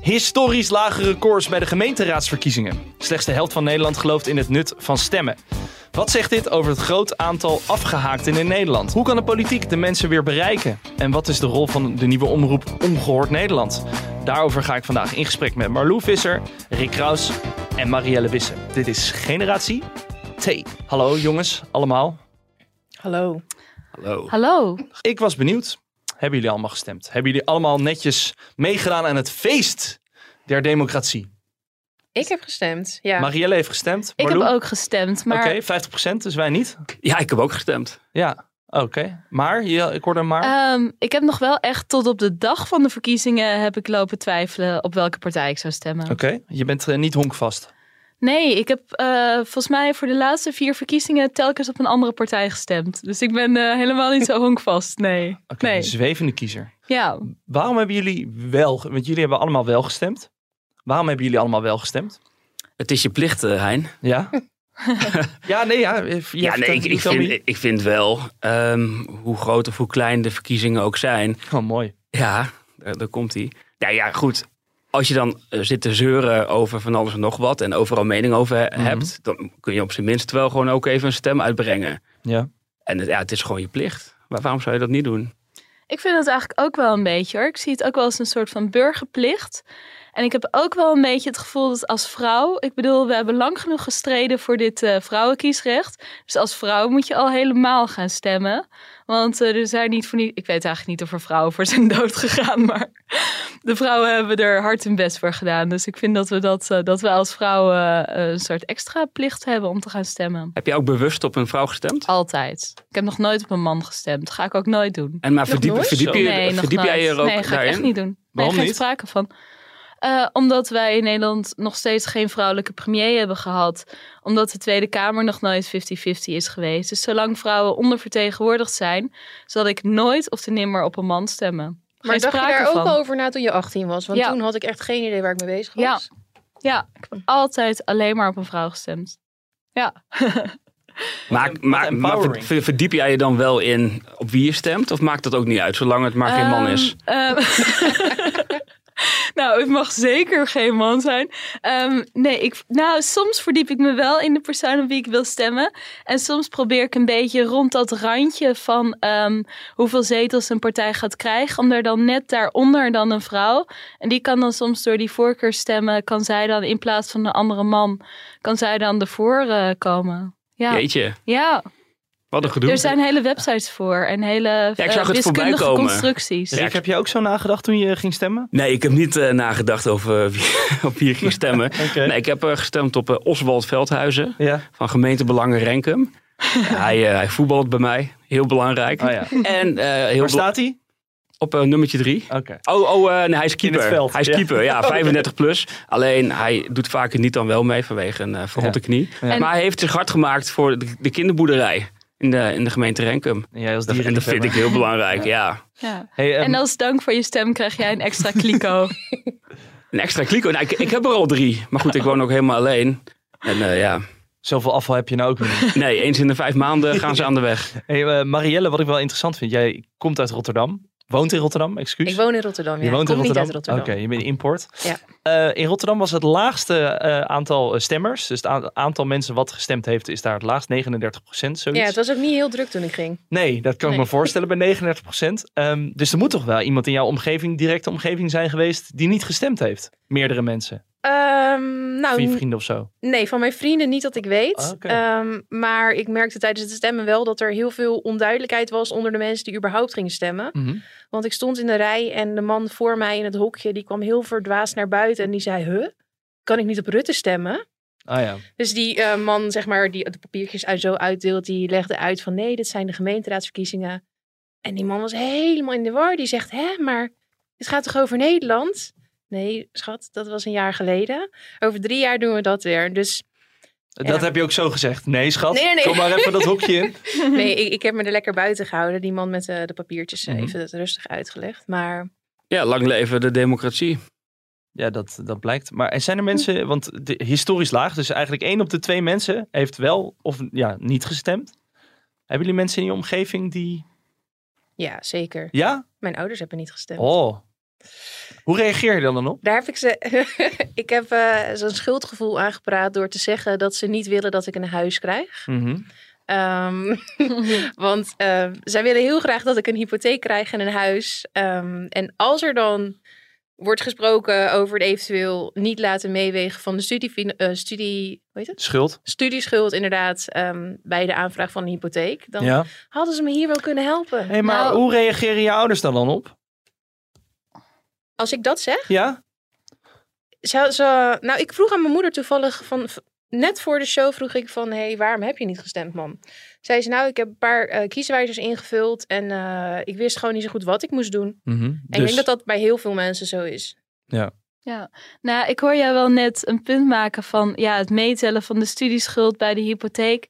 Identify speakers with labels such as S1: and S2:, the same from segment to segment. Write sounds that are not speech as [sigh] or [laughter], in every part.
S1: Historisch lage records bij de gemeenteraadsverkiezingen. Slechts de helft van Nederland gelooft in het nut van stemmen. Wat zegt dit over het groot aantal afgehaakten in Nederland? Hoe kan de politiek de mensen weer bereiken? En wat is de rol van de nieuwe omroep Ongehoord Nederland? Daarover ga ik vandaag in gesprek met Marlou Visser, Rick Kraus en Marielle Wissen. Dit is Generatie T. Hallo jongens, allemaal.
S2: Hallo.
S1: Hallo.
S3: Hallo.
S1: Ik was benieuwd. Hebben jullie allemaal gestemd? Hebben jullie allemaal netjes meegedaan aan het feest der democratie?
S2: Ik heb gestemd. Ja.
S1: Marielle heeft gestemd.
S3: Ik heb
S1: Marlou?
S3: ook gestemd, maar
S1: Oké, 50%, dus wij niet.
S4: Ja, ik heb ook gestemd.
S1: Ja, oké. Maar, je, ik hoorde een maar.
S3: ehm, ik heb nog wel echt tot op de dag van de verkiezingen heb ik lopen twijfelen op welke partij ik zou stemmen.
S1: oké, je bent eh, niet honkvast.
S3: Nee, ik heb eh, volgens mij voor de laatste vier verkiezingen telkens op een andere partij gestemd. Dus ik ben eh, helemaal
S1: [laughs]
S3: niet zo honkvast. Nee.
S1: Oké, dus-
S3: nee.
S1: een zwevende kiezer.
S3: Ja.
S1: Waarom hebben jullie wel, ge- want jullie hebben allemaal wel gestemd. Waarom hebben jullie allemaal wel gestemd?
S4: Het is je plicht, eh, Hein.
S3: [laughs]
S1: Ja? ja, nee, ja. eh,
S4: Ja,
S1: vertel-
S4: nee, ik, ik,
S1: vertel me-
S4: vind, ik vind wel, ehm, hoe groot of hoe klein de verkiezingen ook zijn.
S1: Oh, mooi.
S4: Ja, eh, daar, daar komt hij. Nou ja, goed. Als je dan eh, zit te zeuren over van alles en nog wat en overal mening over he-
S1: Mhm.
S4: hebt, dan kun je op zijn minst wel gewoon ook even een stem uitbrengen.
S1: Ja.
S4: En het, ja, het is gewoon je plicht. Maar waarom zou je dat niet doen?
S3: Ik vind het eigenlijk ook wel een beetje hoor. Ik zie het ook wel als een soort van burgerplicht. En ik heb ook wel een beetje het gevoel dat als vrouw. Ik bedoel, we hebben lang genoeg gestreden voor dit eh, vrouwenkiesrecht. Dus als vrouw moet je al helemaal gaan stemmen. Want eh, er zijn niet voor niet. Ik weet eigenlijk niet of er vrouwen voor zijn [laughs] dood gegaan. Maar de vrouwen hebben er hard hun best voor gedaan. Dus ik vind dat we, dat, eh, dat we als vrouwen eh, een soort extra plicht hebben om te gaan stemmen.
S4: Heb jij ook bewust op een vrouw gestemd?
S3: Altijd. Ik heb nog nooit op een man gestemd. Ga ik ook nooit doen.
S4: En maar verdiep,
S2: nooit?
S4: verdiep, je,
S3: Oh, Nee, nog
S4: verdiep jij
S3: nooit.
S4: er ook
S3: Nee, ga ik
S4: daarin?
S3: echt niet doen. Nee,
S1: Waarom
S3: geen
S1: niet?
S3: sprake van. Eh, omdat wij in Nederland nog steeds geen vrouwelijke premier hebben gehad. Omdat de Tweede Kamer nog nooit 50-50 is geweest. Dus zolang vrouwen ondervertegenwoordigd zijn, zal ik nooit of te nimmer op een man stemmen.
S2: maar
S3: geen
S2: dacht je
S3: sprake
S2: daar ook
S3: van.
S2: al over na toen je 18 was? Want
S3: Ja.
S2: toen had ik echt geen idee waar ik mee bezig was.
S3: Ja. Ja, ik heb altijd alleen maar op een vrouw gestemd. Ja.
S4: Maar, maar, maar
S1: empowering.
S4: ver- ver- verdiep jij je dan wel in op wie je stemt? Of maakt dat ook niet uit, zolang het maar geen man
S3: Ehm,
S4: is?
S3: ehm, [laughs] nou, het mag zeker geen man zijn. Ehm, nee, ik, nou, soms verdiep ik me wel in de persoon op wie ik wil stemmen. En soms probeer ik een beetje rond dat randje van ehm, hoeveel zetels een partij gaat krijgen. Om er dan net daaronder dan een vrouw. En die kan dan soms door die voorkeurstemmen, kan zij dan in plaats van een andere man, kan zij dan ervoor eh, komen. Ja,
S4: Jeetje,
S3: ja,
S4: wat een gedoe.
S3: er zijn hele websites voor en hele
S4: Ja, ik
S3: eh,
S4: zag het voorbij
S3: wiskundige
S4: komen.
S3: constructies.
S4: Ja,
S1: Rick, heb jij ook zo nagedacht toen je ging stemmen?
S4: Nee, ik heb niet eh, nagedacht over wie, [laughs] op wie ik ging stemmen.
S1: Oké.
S4: Nee, ik heb eh, gestemd op eh, Oswald Veldhuizen
S1: Ja.
S4: van gemeente Belangen Renkum. Ja, hij, eh, hij voetbalt bij mij, heel belangrijk.
S1: Oh ja.
S4: En eh, heel
S1: Waar
S4: bela-
S1: staat hij?
S4: op eh, nummertje drie.
S1: Oké.
S4: Oh, oh eh, nee, hij is keeper.
S1: het veld,
S4: hij is
S1: ja.
S4: keeper,
S1: [laughs]
S4: ja, 35 plus. Alleen hij doet vaker niet dan wel mee vanwege een eh verrotte knie.
S1: Ja.
S4: Maar hij heeft zich hard gemaakt voor de, de kinderboerderij in de, in de gemeente Renkum.
S1: En Jij als
S4: Dat, en dat vind
S1: dierenliefhebber.
S4: ik heel belangrijk, ja.
S3: Ja.
S1: Hey, ehm,
S3: En als dank voor je stem krijg jij een extra kliko.
S4: Een extra kliko. Nou, ik, ik heb er al drie. Maar goed, ik woon ook helemaal alleen. En eh, ja,
S1: Zoveel afval heb je nou ook niet.
S4: nee, eens in de vijf maanden gaan ze aan de weg.
S1: Hey, eh, Marielle, wat ik wel interessant vind. Jij komt uit Rotterdam. Woont in Rotterdam, excuus.
S2: Ik woon in Rotterdam.
S1: Dus je
S2: ja.
S1: woont
S2: ik
S1: in
S2: kom
S1: Rotterdam.
S2: niet uit Rotterdam.
S1: Oké, je bent import.
S2: Ja.
S1: Eh, in Rotterdam was het laagste eh, aantal eh, stemmers. Dus het a- aantal mensen wat gestemd heeft is daar het laagst. 39 procent, zoiets.
S2: Ja, het was ook niet heel druk toen ik ging.
S1: Nee, dat kan ik
S2: Nee. [laughs]
S1: me voorstellen bij 39 procent. dus er moet toch wel iemand in jouw omgeving, directe omgeving zijn geweest... die niet gestemd heeft. Meerdere mensen.
S2: Ehm,
S1: Vier
S2: nou,
S1: vrienden of zo.
S2: nee, van mijn vrienden niet dat ik weet.
S1: Ah, oké.
S2: Ehm, maar ik merkte tijdens het stemmen wel dat er heel veel onduidelijkheid was onder de mensen die überhaupt gingen stemmen.
S1: Mhm.
S2: Want ik stond in de rij en de man voor mij in het hokje, die kwam heel verdwaasd naar buiten en die zei, huh? Kan ik niet op Rutte stemmen?
S1: Ah ja.
S2: Dus die eh, man, zeg maar, die de papiertjes uit zo uitdeelt, die legde uit van nee, dit zijn de gemeenteraadsverkiezingen. En die man was helemaal in de war. Die zegt, hè, maar dit gaat toch over Nederland? Nee, schat, dat was een jaar geleden. Over drie jaar doen we dat
S1: [laughs]
S2: weer. Dus
S1: Dat
S2: Ja.
S1: heb je ook zo gezegd. Nee, schat.
S2: Nee, nee, nee.
S1: Kom maar even dat hokje
S2: [laughs]
S1: in.
S2: nee, ik, ik heb me er lekker buiten gehouden. Die man met eh, de papiertjes eh,
S1: Mhm.
S2: even dat rustig uitgelegd. Maar
S4: Ja, lang leven de democratie.
S1: Ja, dat, dat blijkt. Maar er zijn er mensen, want de, historisch laag, dus eigenlijk één op de twee mensen heeft wel of ja, niet gestemd. Hebben jullie mensen in je omgeving die.
S2: ja, zeker.
S1: Ja?
S2: Mijn ouders hebben niet gestemd.
S1: Oh, Hoe reageer je dan dan op?
S2: Daar heb ik ze. [laughs] ik heb eh, zo'n schuldgevoel aangepraat door te zeggen dat ze niet willen dat ik een huis krijg.
S1: Mhm.
S2: Ehm, want eh, zij willen heel graag dat ik een hypotheek krijg en een huis. Ehm, en als er dan wordt gesproken over het eventueel niet laten meewegen van de studiefin- eh, studie, hoe heet het?
S1: Schuld?
S2: studieschuld, inderdaad, ehm, bij de aanvraag van een hypotheek, dan
S1: Ja.
S2: hadden ze me hier wel kunnen helpen.
S1: Hey, maar
S3: Nou-
S1: hoe reageren je ouders dan dan op?
S2: Als ik dat zeg,
S1: Ja?
S2: zou ze. Nou, ik vroeg aan mijn moeder toevallig van. v- Net voor de show vroeg ik van, hey, waarom heb je niet gestemd, mam? Zei ze, nou, ik heb een paar eh, kieswijzers ingevuld en eh, ik wist gewoon niet zo goed wat ik moest doen.
S1: Mhm.
S2: En
S1: Dus-
S2: ik denk dat dat bij heel veel mensen zo is.
S3: Nou, ik hoor jou wel net een punt maken van ja, het meetellen van de studieschuld bij de hypotheek.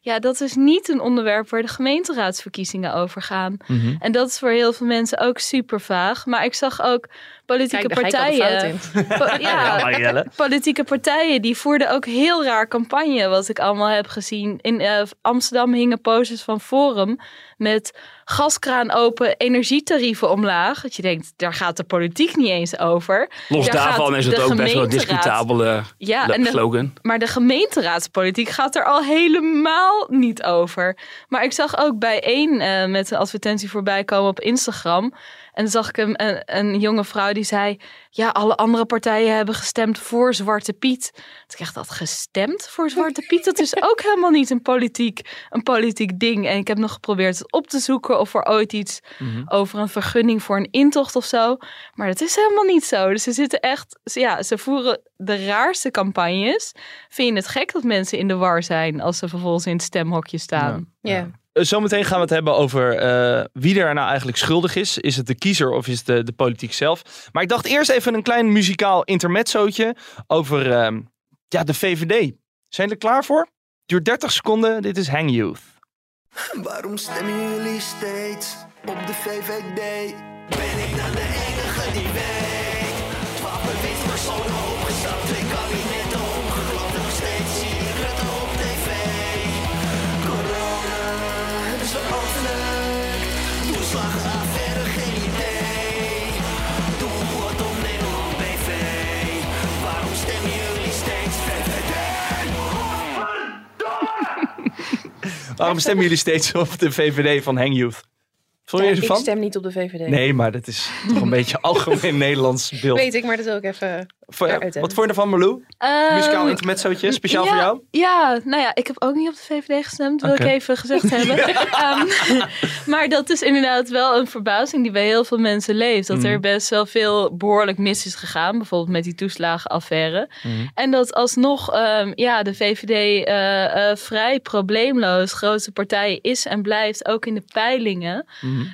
S3: Ja, dat is niet een onderwerp waar de gemeenteraadsverkiezingen over gaan. En dat is voor heel veel mensen ook super vaag. Maar ik zag ook politieke
S2: Kijk, daar ga ik al de fout
S3: partijen.
S2: in.
S4: [laughs]
S3: po- ja, politieke partijen die voerden ook heel raar campagne, wat ik allemaal heb gezien. In eh, Amsterdam hingen posters van Forum met gaskraan open, energietarieven omlaag. Dat je denkt, daar gaat de politiek niet eens over.
S4: Los
S3: Daar
S4: daarvan
S3: gaat
S4: is het
S3: de
S4: ook best wel een
S3: gemeenteraad-
S4: discutabele
S3: Ja, en de-
S4: slogan.
S3: maar de gemeenteraadspolitiek gaat er al helemaal niet over. Maar ik zag ook bij één eh, met een advertentie voorbij komen op Instagram. En dan zag ik hem, een, een jonge vrouw die zei... Ja, alle andere partijen hebben gestemd voor Zwarte Piet. Toen kreeg dat gestemd voor Zwarte Piet? Dat is ook helemaal niet een politiek, een politiek ding. En ik heb nog geprobeerd het op te zoeken... of er ooit iets over een vergunning voor een intocht of zo. Maar dat is helemaal niet zo. Dus ze zitten echt, ze- ja, ze voeren de raarste campagnes. Vind je het gek dat mensen in de war zijn als ze vervolgens in het stemhokje
S2: [laughs]
S3: staan?
S2: Ja.
S1: Eh, Zometeen gaan we het hebben over eh, wie er nou eigenlijk schuldig is. Is het de kiezer of is het de, de politiek zelf? Maar ik dacht eerst even een klein muzikaal intermezzootje over ehm, ja, de VVD. Zijn jullie er klaar voor? Duurt 30 seconden. Dit is Hang Youth.
S5: Waarom stemmen jullie steeds op de VVD? Ben ik dan de enige die weet? Twaalf bewindspersonen opgestapt, twee kabinetten omgeklopt. Nog steeds zie ik Rutte op tv. Corona hebben ze overleefd. Toeslagenaffaire, geen idee. Doe wat om Nederland BV. Waarom stemmen jullie steeds VVD?
S1: Waarom stemmen jullie steeds op de VVD van Hang Youth? Vond je
S2: Ja, ik
S1: ervan?
S2: stem niet op de VVD.
S1: Nee, maar dat is toch een beetje
S2: [laughs]
S1: algemeen Nederlands beeld.
S2: Weet ik, maar dat wil ik even...
S1: Voor-
S2: Ja,
S1: wat
S2: uit, hè.
S1: vond je ervan, Marlou?
S3: Ehm,
S1: Muzikaal intermezzootje, speciaal
S3: ja,
S1: voor jou?
S3: Ja, nou ja, ik heb ook niet op de VVD gestemd, wil
S1: Oké.
S3: ik even gezegd
S1: [laughs]
S3: hebben. [laughs] Ehm, [laughs] maar dat is inderdaad wel een verbazing die bij heel veel mensen leeft.
S1: Mhm.
S3: Dat er best wel veel behoorlijk mis is gegaan, bijvoorbeeld met die toeslagenaffaire.
S1: Mhm.
S3: En dat alsnog ehm, ja, de VVD eh, eh, vrij probleemloos grootste partij is en blijft, ook in de peilingen.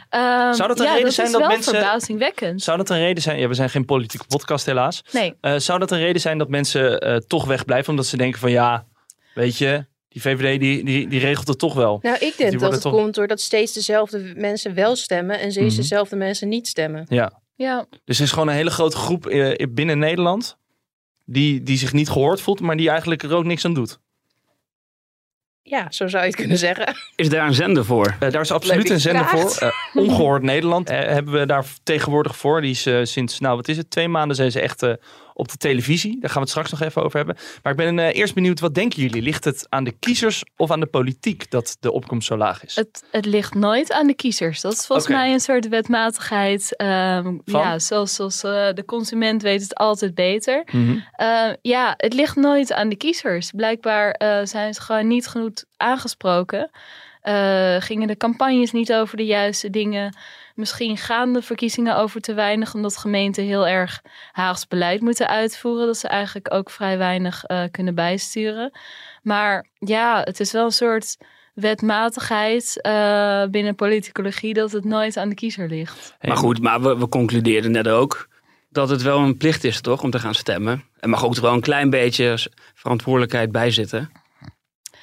S3: Ehm,
S1: Zou dat een
S3: ja,
S1: reden
S3: dat
S1: zijn
S3: is
S1: dat
S3: wel
S1: mensen-
S3: verbazingwekkend.
S1: Mhm. Zou dat een reden zijn? Ja, we zijn geen politieke podcast helaas.
S3: Nee.
S1: Eh, zou dat een reden zijn dat mensen eh, toch wegblijven omdat ze denken van ja, weet je, die VVD die, die, die regelt het toch wel.
S2: Nou, ik
S1: Die
S2: denk dat
S1: worden
S2: het
S1: toch-
S2: komt doordat steeds dezelfde mensen wel stemmen en steeds
S1: Mhm.
S2: dezelfde mensen niet stemmen.
S1: Ja.
S3: Ja.
S1: Dus er is gewoon een hele grote groep eh, binnen Nederland die, die zich niet gehoord voelt, maar die eigenlijk er ook niks aan doet.
S2: Ja, zo zou je het kunnen [laughs] zeggen.
S4: Is daar een zender voor?
S1: Eh, daar is absoluut
S2: Leuk
S1: een zender voor.
S2: gevraagd.
S1: Eh, Ongehoord Nederland eh, hebben we daar tegenwoordig voor. Die is eh, sinds, nou wat is het, twee maanden zijn ze echt eh, op de televisie. Daar gaan we het straks nog even over hebben. Maar ik ben eh, eerst benieuwd, wat denken jullie? Ligt het aan de kiezers of aan de politiek dat de opkomst zo laag is?
S3: Het, het ligt nooit aan de kiezers. Dat is volgens
S1: Oké.
S3: mij een soort wetmatigheid. ehm,
S1: Van?
S3: ja, zoals, zoals eh, de consument weet het altijd beter.
S1: Mhm.
S3: Eh, ja, het ligt nooit aan de kiezers. Blijkbaar eh, zijn ze gewoon niet genoeg aangesproken. Eh, gingen de campagnes niet over de juiste dingen. Misschien gaan de verkiezingen over te weinig, omdat gemeenten heel erg Haags beleid moeten uitvoeren. Dat ze eigenlijk ook vrij weinig eh, kunnen bijsturen. Maar ja, het is wel een soort wetmatigheid eh, binnen politicologie dat het nooit aan de kiezer ligt.
S1: Hey,
S4: Maar goed, maar we, we concludeerden net ook dat het wel een plicht is, toch, om te gaan stemmen. Er mag ook er wel een klein beetje s- verantwoordelijkheid bij zitten.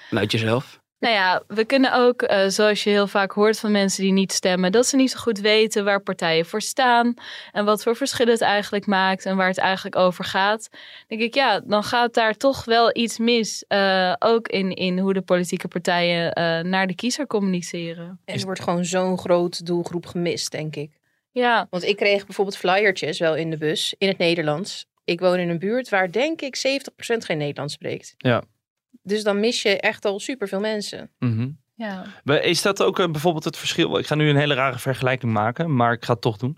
S4: Vanuit jezelf.
S3: Nou ja, we kunnen ook, eh, zoals je heel vaak hoort van mensen die niet stemmen, dat ze niet zo goed weten waar partijen voor staan en wat voor verschillen het eigenlijk maakt en waar het eigenlijk over gaat. Denk ik, ja, dan gaat daar toch wel iets mis, eh, ook in, in hoe de politieke partijen eh, naar de kiezer communiceren.
S2: En er wordt gewoon zo'n groot doelgroep gemist, denk ik.
S3: Ja,
S2: Want ik kreeg bijvoorbeeld flyertjes wel in de bus in het Nederlands. Ik woon in een buurt waar denk ik 70% geen Nederlands spreekt.
S1: Ja.
S2: Dus dan mis je echt al superveel mensen.
S1: Mhm.
S3: ja.
S1: Maar Is dat ook eh, bijvoorbeeld het verschil? Ik ga nu een hele rare vergelijking maken, maar ik ga het toch doen.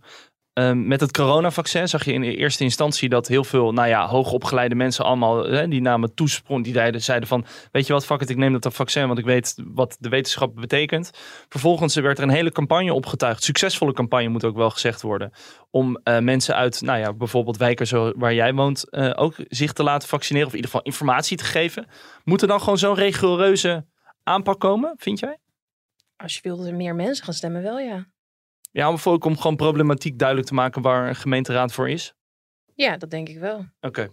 S1: Ehm, met het coronavaccin zag je in eerste instantie dat heel veel, nou ja, hoogopgeleide mensen allemaal, hè, die namen toesprong, die zeiden- zeiden van, weet je wat, fuck it, ik neem dat dat vaccin, want ik weet wat de wetenschap betekent. Vervolgens werd er een hele campagne opgetuigd, succesvolle campagne moet ook wel gezegd worden, om eh, mensen uit, nou ja, bijvoorbeeld wijken zo, waar jij woont, eh, ook zich te laten vaccineren, of in ieder geval informatie te geven. Moet er dan gewoon zo'n rigoureuze aanpak komen, vind jij?
S2: Als je wil dat er meer mensen gaan stemmen, wel ja.
S1: Ja, maar voor ook om gewoon problematiek duidelijk te maken waar een gemeenteraad voor is.
S2: Ja, dat denk ik wel.
S1: Oké.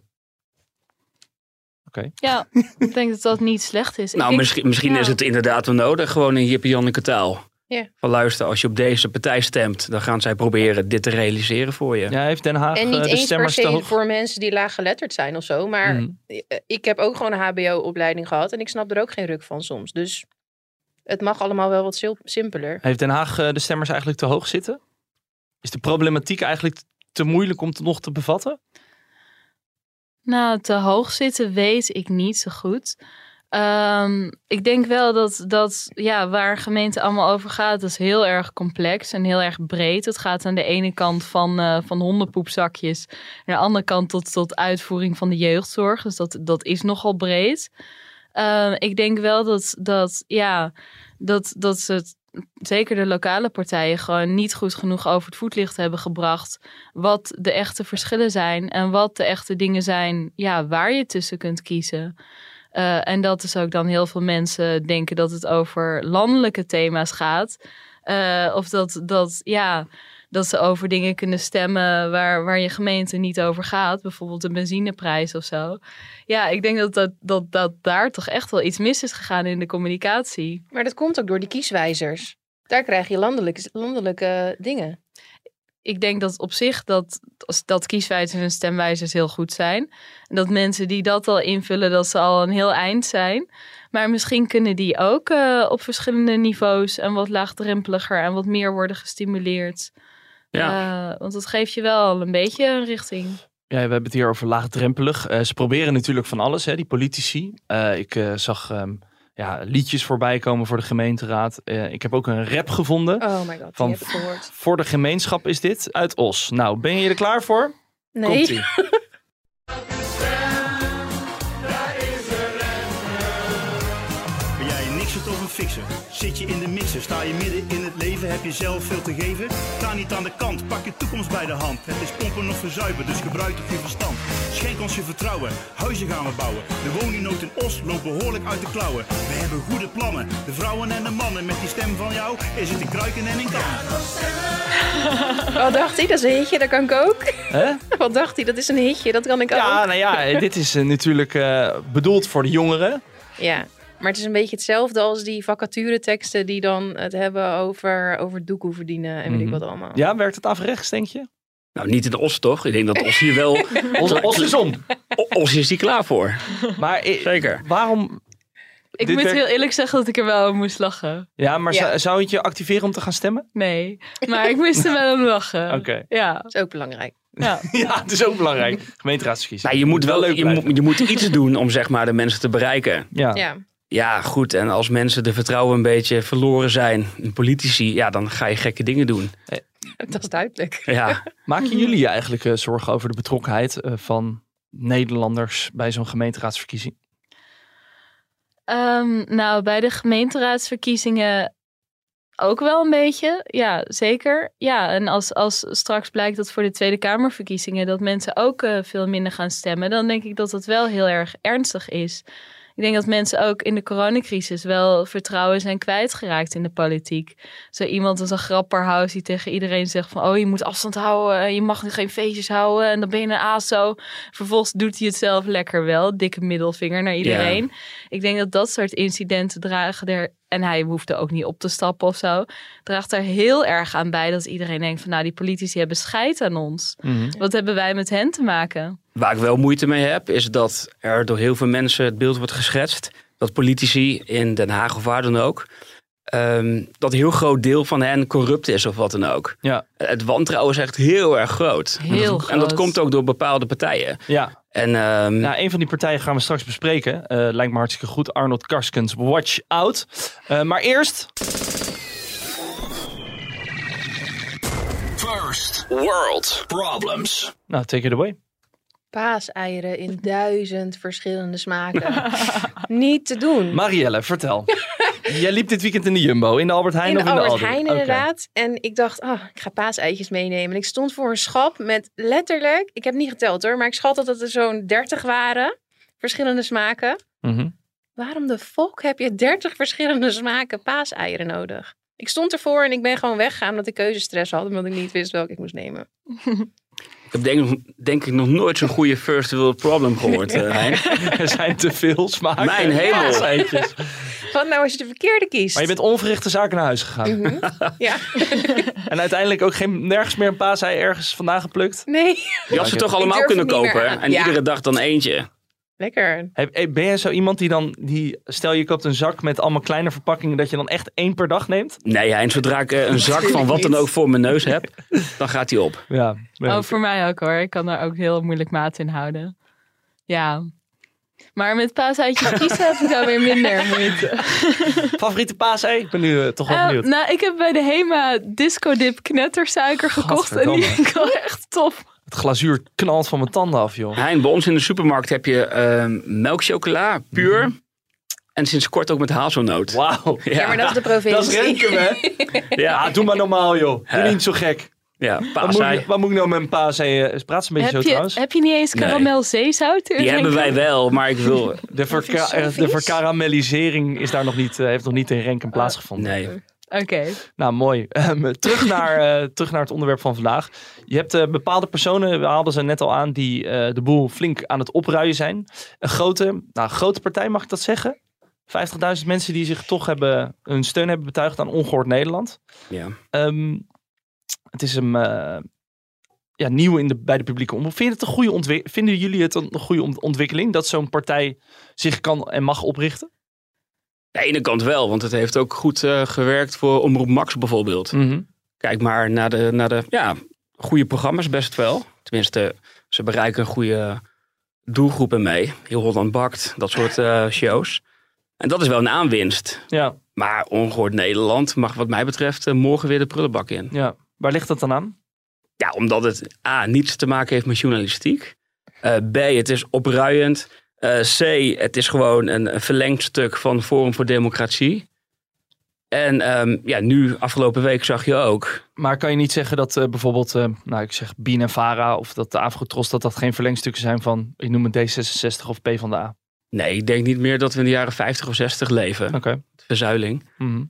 S3: ja. ik denk dat dat niet slecht is. Ik
S4: Nou,
S3: denk-
S4: misschien, misschien
S3: ja.
S4: is het inderdaad wel nodig. Gewoon een Jip-Janneke taal.
S2: Ja.
S4: Van luister, als je op deze partij stemt, dan gaan zij proberen dit te realiseren voor je.
S1: Ja, heeft Den Haag
S2: En
S1: eh,
S2: niet
S1: de
S2: eens per
S1: stemmers te
S2: se
S1: hoog?
S2: voor mensen die laaggeletterd zijn of zo. Maar
S1: Mhm.
S2: eh, ik heb ook gewoon een HBO-opleiding gehad. En ik snap er ook geen ruk van soms. Dus het mag allemaal wel wat sil- simpeler.
S1: Heeft Den Haag eh, de stemmers eigenlijk te hoog zitten? Is de problematiek eigenlijk te moeilijk om te nog te bevatten?
S3: Nou, te hoog zitten weet ik niet zo goed. Ehm, ik denk wel dat, dat ja, waar een gemeente allemaal over gaat, dat is heel erg complex en heel erg breed. Het gaat aan de ene kant van, eh, van hondenpoepzakjes, naar de andere kant tot, tot uitvoering van de jeugdzorg. Dus dat, dat is nogal breed. Ehm, ik denk wel dat, dat, ja, dat, dat ze het, zeker de lokale partijen gewoon niet goed genoeg over het voetlicht hebben gebracht wat de echte verschillen zijn en wat de echte dingen zijn ja, waar je tussen kunt kiezen. Eh, en dat is ook dan heel veel mensen denken dat het over landelijke thema's gaat. Eh, of dat, dat, ja, dat ze over dingen kunnen stemmen waar, waar je gemeente niet over gaat. Bijvoorbeeld de benzineprijs of zo. Ja, ik denk dat, dat, dat, dat daar toch echt wel iets mis is gegaan in de communicatie.
S2: Maar dat komt ook door die kieswijzers. Daar krijg je landelijke, landelijke dingen.
S3: ik denk dat op zich dat, dat kieswijzers en stemwijzers heel goed zijn. En dat mensen die dat al invullen, dat ze al een heel eind zijn. Maar misschien kunnen die ook eh, op verschillende niveaus en wat laagdrempeliger en wat meer worden gestimuleerd.
S4: Ja.
S3: Eh, want dat geeft je wel al een beetje een richting.
S1: Ja, we hebben het hier over laagdrempelig. Eh, ze proberen natuurlijk van alles, hè, die politici. Eh, ik eh, zag ehm, ja, liedjes voorbij komen voor de gemeenteraad. Eh, ik heb ook een rap gevonden.
S2: Oh my god,
S1: Van-
S2: die heb ik gehoord.
S1: Voor de gemeenschap is dit uit Os. Nou, ben je er klaar voor?
S2: Nee.
S1: Komt-ie.
S6: Ben jij een nikser of een fixer? Zit je in de mixer? Sta je midden in het leven? Heb je zelf veel te geven? Sta niet aan de kant, pak je toekomst bij de hand. Het is pompen of verzuipen, dus gebruik toch je verstand. Schenk ons je vertrouwen, huizen gaan we bouwen. De woningnood in Os loopt behoorlijk uit de klauwen. We hebben goede plannen, de vrouwen en de mannen. Met die stem van jou is het een kruiken en een kan.
S2: [laughs] Wat dacht hij? Dat is een hitje, dat kan ik ook. [laughs]
S1: Hè?
S2: Wat dacht hij? Dat is een hitje, dat kan ik
S1: Ja,
S2: ook.
S1: nou ja, dit is eh, natuurlijk eh, bedoeld voor de jongeren.
S2: Ja. Maar het is een beetje hetzelfde als die vacatureteksten die dan het hebben over, over doekoe verdienen en weet
S1: Mhm.
S2: ik wat allemaal.
S1: Ja, werkt het afrechts, denk je?
S4: Nou, niet in de Os toch? Ik denk dat Os hier wel...
S3: [laughs]
S1: Onze os is om.
S4: O- Os is hier klaar voor.
S1: Maar i-
S4: Zeker.
S1: waarom?
S3: Ik
S1: Dit
S3: moet
S1: werkt-
S3: heel eerlijk zeggen dat ik er wel om moest lachen.
S1: Ja, maar
S2: Ja.
S1: zou- zou het je activeren om te gaan stemmen?
S3: Nee, maar ik moest er wel om lachen.
S1: [laughs] Oké.
S3: Ja,
S2: Dat is ook belangrijk.
S3: ja.
S1: Ja, het is ook belangrijk. Gemeenteraadsverkiezingen.
S4: Nou, je moet wel
S1: leuk
S4: je,
S1: blijven.
S4: moet, je moet iets doen om zeg maar, de mensen te bereiken.
S1: Ja.
S2: Ja.
S4: Ja, goed. En als mensen de vertrouwen een beetje verloren zijn, in politici, ja, dan ga je gekke dingen
S2: [laughs]
S4: doen.
S2: dat is duidelijk.
S4: Ja,
S1: Maken jullie je eigenlijk eh, zorgen over de betrokkenheid eh, van Nederlanders bij zo'n gemeenteraadsverkiezing?
S3: Ehm, nou, bij de gemeenteraadsverkiezingen ook wel een beetje. Ja, zeker. Ja, en als, als straks blijkt dat voor de Tweede Kamerverkiezingen dat mensen ook eh, veel minder gaan stemmen, dan denk ik dat dat wel heel erg ernstig is. Ik denk dat mensen ook in de coronacrisis wel vertrouwen zijn kwijtgeraakt in de politiek. Zo iemand als een grapperhaus die tegen iedereen zegt van... oh, je moet afstand houden, en je mag geen feestjes houden en dan ben je een ASO. Vervolgens doet hij het zelf lekker wel, dikke middelvinger naar iedereen. Ik denk dat dat soort incidenten dragen er... en hij hoefde ook niet op te stappen of zo... draagt er heel erg aan bij dat iedereen denkt van... nou, die politici hebben scheid aan ons.
S4: Mhm.
S3: Wat hebben wij met hen te maken?
S4: Waar ik wel moeite mee heb, is dat er door heel veel mensen het beeld wordt geschetst dat politici in Den Haag of waar dan ook ehm, dat een heel groot deel van hen corrupt is of wat dan ook.
S1: Ja,
S4: Het wantrouwen is echt heel erg groot.
S3: Heel
S4: en dat, En dat
S3: groot.
S4: komt ook door bepaalde partijen.
S1: ja.
S4: En ehm,
S1: Nou, een van die partijen gaan we straks bespreken. Eh, lijkt me hartstikke goed. Arnold Karskens, watch out. Eh, maar eerst,
S7: First world problems.
S1: nou, take it away.
S2: Paaseieren in duizend verschillende smaken. Niet te doen.
S1: Marielle, [laughs] vertel. Jij liep dit weekend in de Jumbo, in de Albert Heijn
S2: in de
S1: of in
S2: Albert
S1: de Aldi?
S2: Heijn
S1: Oké.
S2: inderdaad. En ik dacht, ah, ik ga paaseitjes meenemen. En ik stond voor een schap met letterlijk, ik heb niet geteld hoor, maar ik schat dat het er zo'n 30 waren. Verschillende smaken.
S1: Mhm.
S2: Waarom de fok heb je 30 verschillende smaken paaseieren nodig? Ik stond ervoor en ik ben gewoon weggegaan omdat ik keuzestress had. Omdat ik niet wist welke ik moest nemen.
S4: ik heb denk, denk ik nog nooit zo'n goede first world
S2: [laughs]
S4: problem gehoord. eh, Hein.
S1: [laughs] Er zijn te veel smaken.
S4: Mijn hemel.
S1: Paaseitjes.
S2: Wat nou als je de verkeerde kiest?
S1: Maar je bent onverrichte zaken naar huis gegaan.
S2: Mhm. Ja.
S1: En uiteindelijk ook geen, nergens meer een paasei ergens vandaan geplukt.
S2: Nee. [laughs]
S4: Je had ze
S1: Ik
S4: toch allemaal
S2: durf
S4: kunnen
S2: het niet meer
S4: kopen.
S2: aan.
S4: En
S2: Ja.
S4: iedere dag dan eentje.
S2: Lekker.
S1: Heb- hey, Ben jij zo iemand die dan, die, stel je koopt een zak met allemaal kleine verpakkingen, dat je dan echt één per dag neemt?
S4: Nee, Hein, zodra
S1: [laughs]
S4: ik eh, een zak van wat dan ook voor mijn neus heb, dan gaat die op.
S1: Ja.
S3: Oh, voor mij ook hoor. Ik kan daar ook heel moeilijk maat in houden. Ja. Maar met paasuitjes kiezen heb ik dan weer
S1: [laughs]
S3: minder moeite.
S1: Favoriete paasei? Ik ben nu eh, toch wel
S3: Eh,
S1: benieuwd.
S3: nou, ik heb bij de Hema Disco Dip knettersuiker gekocht. En die [laughs] vind ik wel echt top.
S1: Het glazuur knalt van mijn tanden af, joh.
S4: Hein, bij ons in de supermarkt heb je ehm melkchocola, puur. En sinds kort ook met hazelnoot.
S1: Mhm. Wauw.
S4: [laughs] Ja,
S2: Ja, maar dat is de provincie.
S1: [laughs] Dat is Renkum, hè?
S3: [laughs]
S4: ja,
S1: Ja, Ah, doe maar normaal, joh. Doe
S4: Ja.
S1: niet zo gek.
S4: ja
S1: Wat moet, ik-
S4: paasei.
S1: wat moet ik nou met een paasei? eh, Praat ze een beetje
S3: Heb
S1: zo
S3: je,
S1: trouwens.
S3: heb je niet eens
S4: Nee.
S3: karamel zeezout?
S4: Die hebben wij wel, maar ik
S1: [laughs]
S4: wil...
S1: De, verka-
S2: vind ik zo
S1: eh, de
S2: vies.
S1: verkaramellisering is daar nog niet, eh, heeft nog niet in Renkum
S3: Ah,
S1: plaatsgevonden.
S4: Nee.
S3: Oké.
S1: Nou, mooi. [laughs] Ehm, terug, naar, eh, terug naar het onderwerp van vandaag. Je hebt eh, bepaalde personen, we haalden ze net al aan, die eh, de boel flink aan het opruien zijn. Een grote, nou, grote partij, mag ik dat zeggen? 50.000 mensen die zich toch hebben, hun steun hebben betuigd aan Ongehoord Nederland.
S4: Ja.
S1: Ehm, het is hem eh, ja, nieuw in de, bij de publieke omroep. Vind je het een goede ontwi- Vinden jullie het een goede ont- ontwikkeling dat zo'n partij zich kan en mag oprichten?
S4: Aan de ene kant wel, want het heeft ook goed eh, gewerkt voor Omroep Max bijvoorbeeld. Kijk maar naar de, naar de ja, goede programma's best wel. Tenminste, ze bereiken goede doelgroepen mee. Heel Holland Bakt, dat soort eh, shows. En dat is wel een aanwinst.
S1: Ja,
S4: Maar ongehoord Nederland mag wat mij betreft eh, morgen weer de prullenbak in.
S1: ja. Waar ligt dat dan aan?
S4: Ja, omdat het A, niets te maken heeft met journalistiek. Eh, B, het is opruiend. Eh, C, het is gewoon een, een verlengd stuk van Forum voor Democratie. En ehm, ja, nu, afgelopen week zag je ook
S1: Maar kan je niet zeggen dat eh, bijvoorbeeld, eh, nou ik zeg Bien en Vara of dat de Afrotros, dat dat geen verlengstukken zijn van, ik noem het D66 of P van de A.
S4: Nee, ik denk niet meer dat we in de jaren 50 of 60 leven.
S1: Oké.
S4: Verzuiling.
S1: Mhm.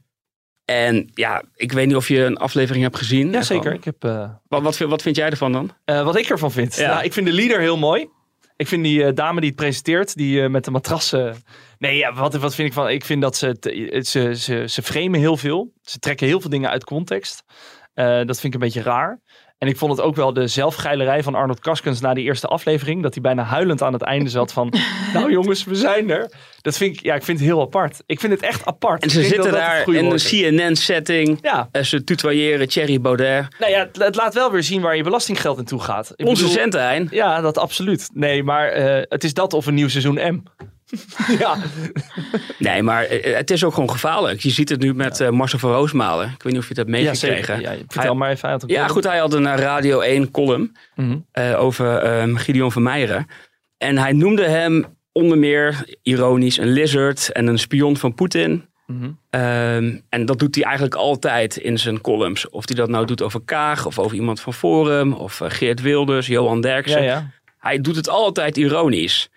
S4: En ja, ik weet niet of je een aflevering hebt gezien.
S1: Ja, zeker. Ik heb, eh,
S4: Wat, wat, vind- wat vind jij ervan dan?
S1: eh, wat ik ervan vind.
S4: Ja.
S1: Nou, ik vind de leader heel mooi. Ik vind die eh, dame die het presenteert, die eh, met de matrassen. Nee, ja, wat, wat vind ik van? Ik vind dat ze, het, het- ze, ze, ze framen heel veel. Ze trekken heel veel dingen uit context. Eh, dat vind ik een beetje raar. En ik vond het ook wel de zelfgeilerij van Arnold Kaskens na die eerste aflevering. Dat hij bijna huilend aan het einde zat
S4: [laughs]
S1: van... nou jongens, we zijn er. Dat vind ik, ja, ik vind het heel apart. Ik vind het echt apart.
S4: En ze
S1: Ik denk
S4: zitten
S1: dat dat het
S4: daar
S1: goede
S4: in een
S1: woord is.
S4: CNN-setting.
S1: Ja,
S4: En ze tutoyeren Thierry Baudet.
S1: nou ja, het, het laat wel weer zien waar je belastinggeld naartoe gaat. Ik
S4: Onze
S1: bedoel-
S4: centen, Hein.
S1: Ja, dat absoluut. Nee, maar eh, het is dat of een nieuw seizoen M. [laughs] ja.
S4: Nee, maar eh, het is ook gewoon gevaarlijk. Je ziet het nu met eh, Marcel van Roosmalen. Ik weet niet of je dat mee
S1: ja,
S4: hebt
S1: zeker.
S4: gekregen.
S1: Ja, vertel maar even uit.
S4: Ja, goed. Hij had een eh, Radio 1 column.
S1: Mhm.
S4: eh, over ehm, Gideon van Meijeren. En hij noemde hem onder meer, ironisch, een lizard en een spion van Poetin.
S1: Mhm.
S4: Ehm, en dat doet hij eigenlijk altijd in zijn columns. Of hij dat nou doet over Kaag, of over iemand van Forum, of eh, Geert Wilders, Johan
S1: Ja,
S4: Derksen.
S1: ja.
S4: Hij doet het altijd ironisch.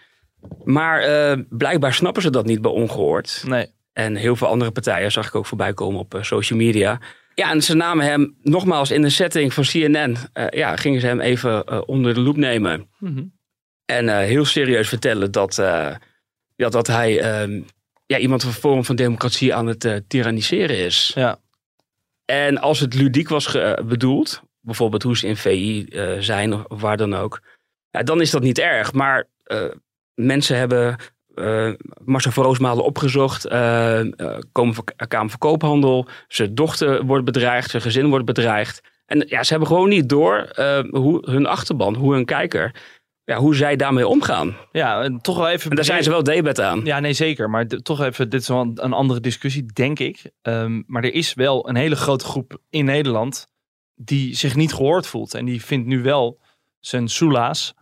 S4: Maar eh, blijkbaar snappen ze dat niet bij Ongehoord.
S1: Nee.
S4: En heel veel andere partijen zag ik ook voorbij komen op eh, social media. Ja, en ze namen hem nogmaals in de setting van CNN. eh, ja, gingen ze hem even eh, onder de loep nemen.
S1: Mhm.
S4: En eh, heel serieus vertellen dat, eh, ja, dat hij ehm, ja, iemand van Forum van Democratie aan het eh, tyranniseren is.
S1: Ja.
S4: En als het ludiek was ge- eh, bedoeld, bijvoorbeeld hoe ze in VI eh, zijn of waar dan ook, ja, dan is dat niet erg. Maar eh, mensen hebben eh, eh, Marcel van Roosmalen opgezocht. eh, eh, komen van Kamer van Koophandel. Zijn dochter wordt bedreigd. Zijn gezin wordt bedreigd. En ja, ze hebben gewoon niet door eh, hoe hun achterban, hoe hun kijker, ja, hoe zij daarmee omgaan.
S1: Ja, en toch wel even...
S4: En daar zijn ze wel debet aan.
S1: Ja, nee, zeker. Maar d- toch even, dit is wel een, een andere discussie, denk ik. Ehm, maar er is wel een hele grote groep in Nederland die zich niet gehoord voelt. En die vindt nu wel zijn soelaas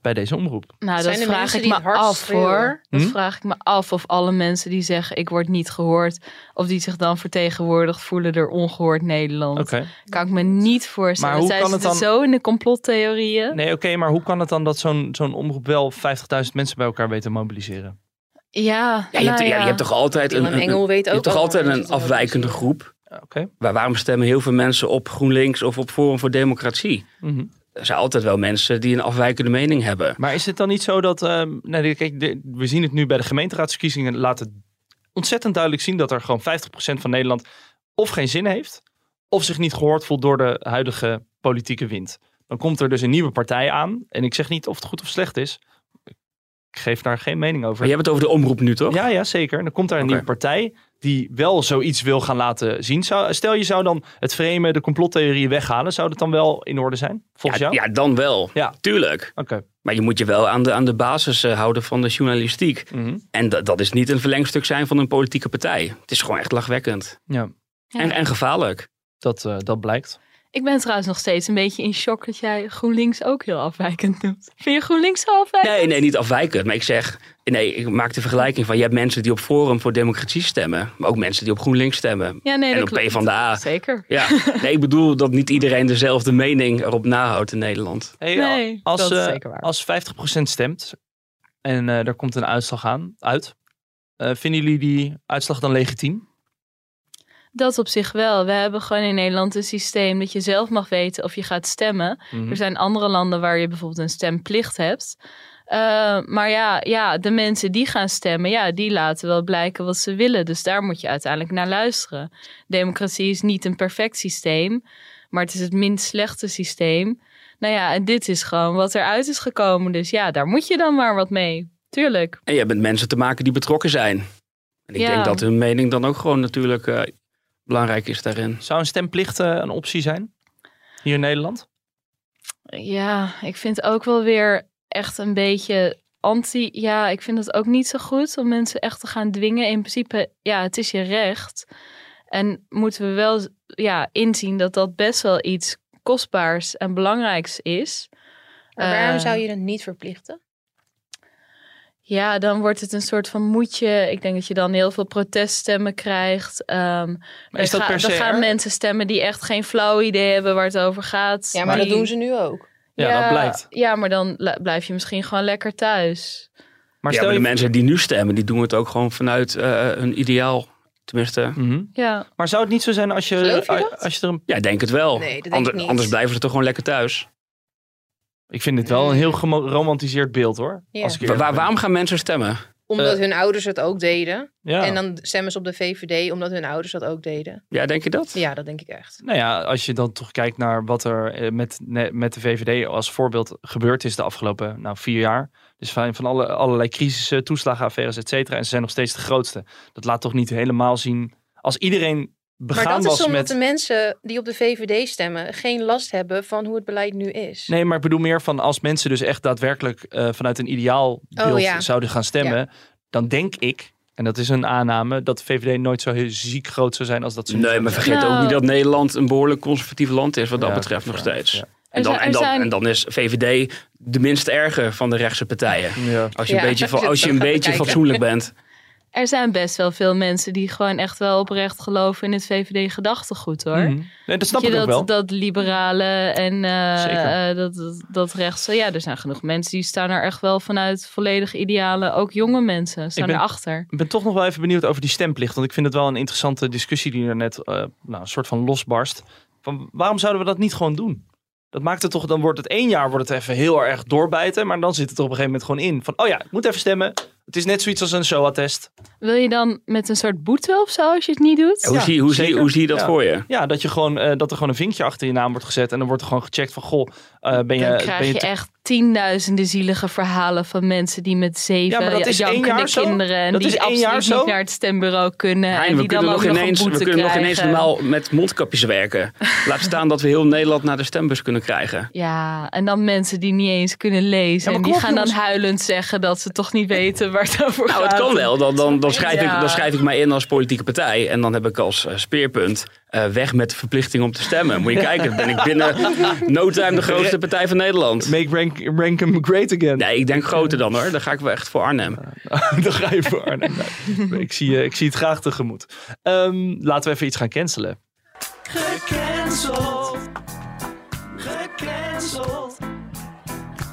S1: bij deze omroep.
S3: Nou,
S2: Zijn
S3: dat
S2: er
S3: vraag
S2: mensen
S3: ik
S2: die
S3: me
S2: het hardst
S3: af
S2: schreeuwen?
S3: hoor. Dat
S1: Hm?
S3: vraag ik me af of alle mensen die zeggen ik word niet gehoord, of die zich dan vertegenwoordigd voelen door ongehoord Nederland.
S1: Oké.
S3: Kan ik me niet voorstellen.
S1: Maar hoe
S3: Zij
S1: kan het
S3: zitten
S1: dan-
S3: zo in de complottheorieën.
S1: Nee, oké, maar hoe kan het dan dat zo'n zo'n omroep wel 50.000 mensen bij elkaar weet te mobiliseren?
S3: Ja,
S4: Ja, je, hebt,
S3: nou
S4: ja,
S3: ja.
S4: je hebt toch altijd een,
S2: Willem
S4: een, een-
S2: Engel weet
S4: je
S2: ook
S4: hebt toch
S2: allemaal
S4: altijd
S2: dat
S4: een
S2: het wel
S4: afwijkende
S2: is.
S4: groep.
S1: Oké.
S4: Waar, waarom stemmen heel veel mensen op GroenLinks of op Forum voor Democratie?
S1: Mhm.
S4: Er zijn altijd wel mensen die een afwijkende mening hebben.
S1: Maar is het dan niet zo dat. ehm, nou, dit- kijk, dit- we zien het nu bij de gemeenteraadsverkiezingen. Laat het ontzettend duidelijk zien dat er gewoon 50% van Nederland. of geen zin heeft. of zich niet gehoord voelt door de huidige politieke wind. Dan komt er dus een nieuwe partij aan. En ik zeg niet of het goed of slecht is. Ik geef daar geen mening over.
S4: Maar je hebt het over de omroep nu, toch?
S1: Ja, ja, zeker. En dan komt daar een
S4: Oké.
S1: nieuwe partij die wel zoiets wil gaan laten zien. Zou, stel je zou dan het vreemde, de complottheorie weghalen. Zou dat dan wel in orde zijn? Volgens
S4: ja,
S1: jou?
S4: ja, dan wel.
S1: Ja.
S4: Tuurlijk.
S1: Oké.
S4: Maar je moet je wel aan de, aan de basis eh, houden van de journalistiek.
S1: Mhm.
S4: En dat dat is niet een verlengstuk zijn van een politieke partij. Het is gewoon echt lachwekkend.
S1: Ja,
S3: Ja.
S4: En, en gevaarlijk.
S1: dat, eh, dat blijkt.
S3: Ik ben trouwens nog steeds een beetje in shock dat jij GroenLinks ook heel afwijkend noemt. Vind je GroenLinks zo afwijkend?
S4: Nee, nee, niet afwijkend. Maar ik zeg, nee, ik maak de vergelijking van... je hebt mensen die op Forum voor Democratie stemmen. Maar ook mensen die op GroenLinks stemmen.
S3: Ja, nee,
S4: en
S3: dat
S4: op
S3: klopt.
S4: PvdA.
S1: [laughs]
S3: Zeker.
S4: Ja, nee, ik bedoel dat niet iedereen dezelfde mening erop nahoudt in Nederland.
S1: Hey,
S3: Nee,
S1: als,
S3: dat is
S1: eh,
S3: zeker waar.
S1: Als 50% stemt en eh er komt een uitslag aan, uit. eh, vinden jullie die uitslag dan legitiem?
S3: Dat op zich wel. We hebben gewoon in Nederland een systeem dat je zelf mag weten of je gaat stemmen.
S1: Mhm.
S3: Er zijn andere landen waar je bijvoorbeeld een stemplicht hebt. Eh, maar ja, ja, de mensen die gaan stemmen, ja, die laten wel blijken wat ze willen. Dus daar moet je uiteindelijk naar luisteren. Democratie is niet een perfect systeem, maar het is het minst slechte systeem. Nou ja, en dit is gewoon wat eruit is gekomen. Dus ja, daar moet je dan maar wat mee. Tuurlijk.
S4: En je hebt met mensen te maken die betrokken zijn. En ik
S3: Ja.
S4: denk dat hun mening dan ook gewoon natuurlijk eh, belangrijk is daarin.
S1: Zou een stemplicht eh, een optie zijn? Hier in Nederland?
S3: Ja, ik vind ook wel weer echt een beetje anti. Ja, ik vind dat ook niet zo goed om mensen echt te gaan dwingen. In principe, ja, het is je recht. En moeten we wel ja, inzien dat dat best wel iets kostbaars en belangrijks is.
S2: Maar waarom
S3: Eh,
S2: zou je dat niet verplichten?
S3: Ja, dan wordt het een soort van moetje. Ik denk dat je dan heel veel proteststemmen krijgt. Ehm
S1: Maar is
S3: dan
S1: dat
S3: ga-
S1: per se
S3: dan gaan
S1: erg?
S3: mensen stemmen die echt geen flauw idee hebben waar het over gaat.
S2: Ja, maar dat
S3: Die-
S2: doen ze nu ook.
S1: Ja, dat blijkt.
S3: Ja, maar dan la- blijf je misschien gewoon lekker thuis.
S1: Maar
S4: ja,
S1: stel
S4: maar de
S1: je...
S4: mensen die nu stemmen, die doen het ook gewoon vanuit eh, hun ideaal. Tenminste,
S1: Mhm.
S3: Ja.
S1: Maar zou het niet zo zijn als je,
S2: Geloof je dat?
S1: als je er een...
S4: ja, ik denk het wel.
S2: Nee, dat denk
S4: Ander-
S2: ik niet.
S4: Anders blijven ze toch gewoon lekker thuis.
S1: Ik vind dit wel een heel geromantiseerd beeld hoor.
S2: Ja.
S1: Als ik
S4: Wa-
S1: eerlijk
S4: waar-
S1: ben.
S4: waarom gaan mensen stemmen?
S2: Omdat hun ouders het ook deden.
S1: Ja.
S2: En dan stemmen ze op de VVD omdat hun ouders dat ook deden.
S4: Ja, denk je dat?
S2: Ja, dat denk ik echt.
S1: Nou ja, als je dan toch kijkt naar wat er eh, met, ne- met de VVD als voorbeeld gebeurd is de afgelopen nou, vier jaar. Dus van, van alle, allerlei crisissen, toeslagenaffaires, et cetera. En ze zijn nog steeds de grootste. Dat laat toch niet helemaal zien. Als iedereen begaan
S2: maar dat
S1: was
S2: is omdat
S1: met...
S2: de mensen die op de VVD stemmen geen last hebben van hoe het beleid nu is.
S1: Nee, maar ik bedoel meer van als mensen dus echt daadwerkelijk eh, vanuit een ideaal beeld
S2: Oh, ja.
S1: zouden gaan stemmen. Dan denk ik, en dat is een aanname, dat de VVD nooit zo heel ziek groot zou zijn als dat ze nu
S4: Nee,
S1: zijn.
S4: maar vergeet
S3: Nou.
S4: ook niet dat Nederland een behoorlijk conservatief land is wat dat
S1: Ja,
S4: betreft nog
S1: ja,
S4: steeds.
S1: ja.
S4: En, dan,
S3: zijn-
S4: en,
S3: er
S4: dan,
S3: zijn-
S4: en dan is VVD de minst erge van de rechtse partijen.
S1: Ja.
S4: Als je een
S2: Ja,
S4: beetje, van-
S2: als je
S4: als je
S2: het
S4: een
S2: gaat
S4: beetje
S2: bekijken.
S4: fatsoenlijk bent.
S3: Er zijn best wel veel mensen die gewoon echt wel oprecht geloven in het VVD-gedachtegoed hoor.
S1: Mhm. Nee, dat snap
S3: Weet
S1: ik
S3: je,
S1: ook
S3: dat,
S1: wel.
S3: dat liberalen en eh,
S1: Zeker.
S3: eh, dat, dat, dat rechtse. Ja, er zijn genoeg mensen die staan er echt wel vanuit volledig idealen. Ook jonge mensen staan
S1: ben-
S3: erachter.
S1: Ik ben toch nog wel even benieuwd over die stemplicht. Want ik vind het wel een interessante discussie die er net eh, nou, een soort van losbarst. Van waarom zouden we dat niet gewoon doen? Dat maakt het toch, dan wordt het één jaar wordt het even heel erg doorbijten. Maar dan zit het er op een gegeven moment gewoon in. Van, oh ja, ik moet even stemmen. Het is net zoiets als een SOA-test.
S3: Wil je dan met een soort boete of zo als je het niet doet?
S4: Hoe,
S1: Ja,
S4: zie, hoe, zie,
S1: zeker.
S4: hoe zie je dat
S1: Ja.
S4: voor je?
S1: Ja, dat, je gewoon, eh, dat er gewoon een vinkje achter je naam wordt gezet. En dan wordt er gewoon gecheckt van, goh, eh, ben je...
S3: Dan krijg
S1: ben
S3: je,
S1: te-
S3: echt tienduizenden zielige verhalen van mensen die met
S1: Ja,
S3: zeven
S1: maar dat is één
S3: jankende
S1: jaar zo?
S3: kinderen en
S1: Dat
S3: die
S1: is één
S3: absoluut
S1: jaar zo?
S3: niet naar het stembureau kunnen
S4: Hein,
S3: en
S4: we
S3: die dan
S4: kunnen,
S3: ook
S4: nog ineens,
S3: een
S4: we
S3: boete
S4: kunnen nog ineens
S3: krijgen.
S4: normaal met mondkapjes werken. Laat staan dat we heel Nederland naar de stembus kunnen krijgen.
S3: Ja, en dan mensen die niet eens kunnen lezen.
S1: maar
S3: en
S1: kom
S3: die
S1: op,
S3: gaan dan
S1: jongens.
S3: huilend zeggen dat ze toch niet weten waar het over
S4: Nou,
S3: gaat.
S4: het kan wel. Dan, dan, dan, schrijf ik,
S3: Ja.
S4: dan schrijf ik mij in als politieke partij. En dan heb ik als eh, speerpunt eh, weg met de verplichting om te stemmen. Moet je kijken, dan ben ik binnen
S3: [laughs]
S4: no time de grootste partij van Nederland.
S1: Make rank, Rankum great again.
S4: Nee, ik denk groter dan hoor. Dan ga ik wel echt voor Arnhem.
S1: [laughs] Dan ga je voor Arnhem. Nee, ik, zie, eh, ik zie het graag tegemoet. Ehm, laten we even iets gaan cancelen.
S5: Gecanceld. Gecanceld.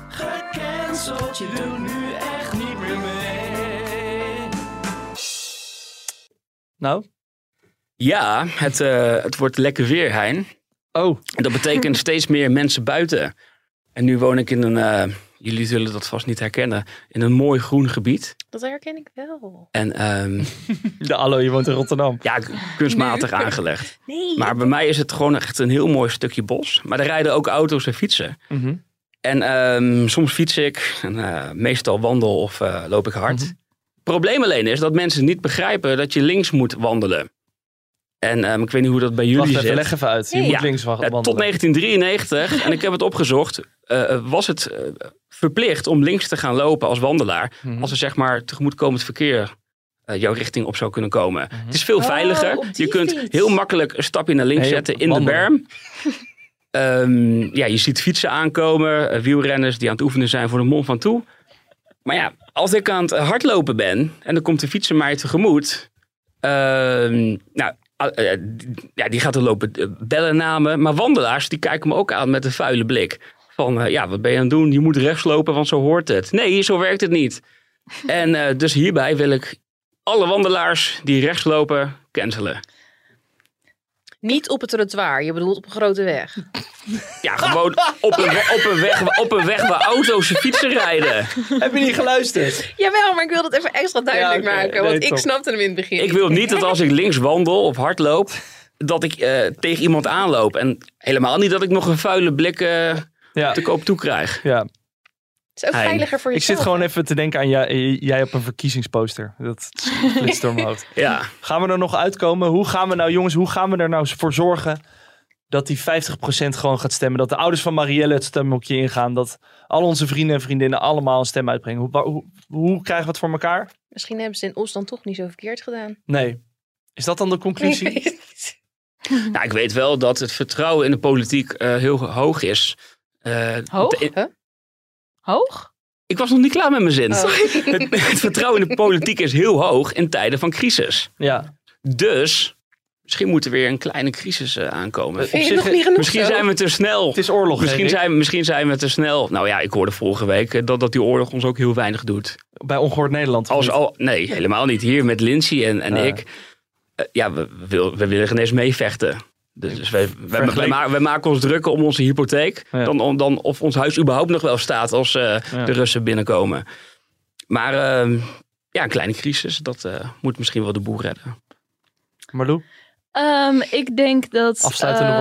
S5: Gecanceld. Je doet nu echt niet meer mee.
S1: Nou?
S4: Ja, het, eh, het wordt lekker weer, Hein.
S1: Oh,
S4: En Dat betekent steeds meer mensen buiten. En nu woon ik in een, eh, jullie zullen dat vast niet herkennen, in een mooi groen gebied.
S2: Dat herken ik wel.
S4: En
S1: [laughs]
S4: ehm,
S1: de allo, je woont in Rotterdam.
S4: ja, kunstmatig aangelegd.
S2: Nee.
S4: Maar bij mij is het gewoon echt een heel mooi stukje bos. Maar er rijden ook auto's en fietsen.
S1: Mhm.
S4: En ehm, soms fiets ik, en, eh, meestal wandel of eh, loop ik hard.
S1: Mhm.
S4: probleem alleen is dat mensen niet begrijpen dat je links moet wandelen. En ehm, ik weet niet hoe dat bij jullie
S1: Wacht even,
S4: zit.
S1: leg even uit. Je
S2: Nee.
S1: moet
S4: Ja.
S1: links wa-
S4: Eh,
S1: wandelen.
S4: tot
S1: [laughs]
S4: 1993, en ik heb het opgezocht, eh, eh, was het eh, verplicht om links te gaan lopen als wandelaar.
S1: Mhm.
S4: Als er zeg maar tegemoetkomend verkeer eh, jouw richting op zou kunnen komen. Het is veel
S2: Oh,
S4: veiliger.
S2: op die
S4: Je kunt
S2: fiets.
S4: heel makkelijk een stapje naar links
S1: Nee,
S4: zetten
S1: op-
S4: in de
S1: wandelen.
S4: berm. [laughs] Ehm, ja, je ziet fietsen aankomen, eh, wielrenners die aan het oefenen zijn voor de mond van toe. Maar ja, als ik aan het hardlopen ben en dan komt de fietser mij tegemoet. ehm, nou, ah, eh, die- ja, die gaat er lopen eh, bellen namen. Maar wandelaars, die kijken me ook aan met een vuile blik. Van, eh, ja, wat ben je aan het doen? Je moet rechts lopen, want zo hoort het. Nee, zo werkt het niet. En eh, dus hierbij wil ik alle wandelaars die rechts lopen cancelen.
S2: Niet op het trottoir, je bedoelt op een grote weg.
S4: Ja, gewoon op een, we- op een, weg, op een weg waar auto's en fietsen rijden.
S1: Heb je niet geluisterd?
S2: Jawel, maar ik wil dat even extra duidelijk
S1: Ja, oké.
S2: maken, want
S1: Nee,
S2: ik
S1: top.
S2: snapte hem in het begin.
S4: Ik wil
S2: [laughs]
S4: niet dat als ik links wandel of hardloop, dat ik eh, tegen iemand aanloop. En helemaal niet dat ik nog een vuile blik eh,
S1: Ja.
S4: te koop toe krijg.
S1: ja.
S2: Het is ook
S4: Hein,
S2: veiliger voor
S1: Ik
S2: jezelf.
S1: zit gewoon even te denken aan jij, jij op een verkiezingsposter. Dat
S2: [laughs]
S1: flitst door mijn hoofd.
S4: Ja,
S1: Gaan we er nog uitkomen? Hoe gaan we nou, jongens, hoe gaan we er nou voor zorgen dat die 50% gewoon gaat stemmen? Dat de ouders van Marielle het stemhokje ingaan? Dat al onze vrienden en vriendinnen allemaal een stem uitbrengen? Hoe, wa- hoe, hoe krijgen we het voor elkaar?
S2: Misschien hebben ze in Os dan toch niet zo verkeerd gedaan.
S1: Nee. Is dat dan de conclusie?
S2: [laughs]
S4: nou, ik weet wel dat het vertrouwen in de politiek eh, heel hoog is. Eh,
S3: Hoog?
S4: de-
S3: Hoog?
S4: ik was nog niet klaar met mijn zin.
S2: Oh.
S4: Het, het vertrouwen in de politiek is heel hoog in tijden van crisis.
S1: Ja.
S4: Dus misschien moet er weer een kleine crisis eh, aankomen.
S1: Eh,
S2: Vind je
S1: zich-
S2: het nog niet genoeg
S4: Misschien
S2: zo?
S4: zijn we te snel.
S1: Het is oorlog,
S4: Misschien
S1: Erik.
S4: zijn, misschien zijn we te snel. Nou ja, ik hoorde vorige week eh, dat, dat die oorlog ons ook heel weinig doet.
S1: Bij Ongehoord Nederland.
S4: Als al, nee, helemaal niet. Hier met Lindsay en, en
S1: Ah.
S4: ik. eh, ja, we, we, wil- we willen geen eens meevechten. Dus, dus wij, wij, wij,
S1: Vergeleek-
S4: ma- wij maken ons drukker om onze hypotheek.
S1: Ja.
S4: Dan, om- dan of ons huis überhaupt nog wel staat als eh,
S1: Ja.
S4: de Russen binnenkomen. Maar eh, ja, een kleine crisis, dat eh, moet misschien wel de boer redden.
S1: Marlou?
S3: Ehm, ik denk dat,
S1: Afsluitende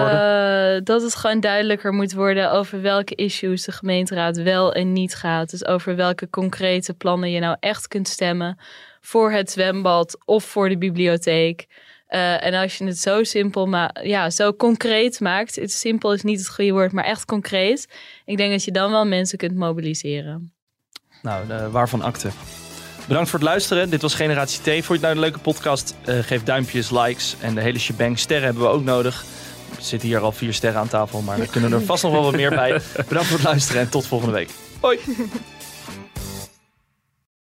S3: eh, dat het gewoon duidelijker moet worden over welke issues de gemeenteraad wel en niet gaat. Dus over welke concrete plannen je nou echt kunt stemmen voor het zwembad of voor de bibliotheek. Eh, en als je het zo simpel, ma- ja, zo concreet maakt. Het simpel is niet het goede woord, maar echt concreet. Ik denk dat je dan wel mensen kunt mobiliseren.
S1: Nou, eh, waarvan akte. Bedankt voor het luisteren. Dit was Generatie T. Vond je het nou een leuke podcast? Eh, geef duimpjes, likes en de hele shebang. Sterren hebben we ook nodig. Er zitten hier al vier sterren aan tafel, maar er kunnen er vast nog wel wat meer bij. Bedankt voor het luisteren en tot volgende week. Hoi!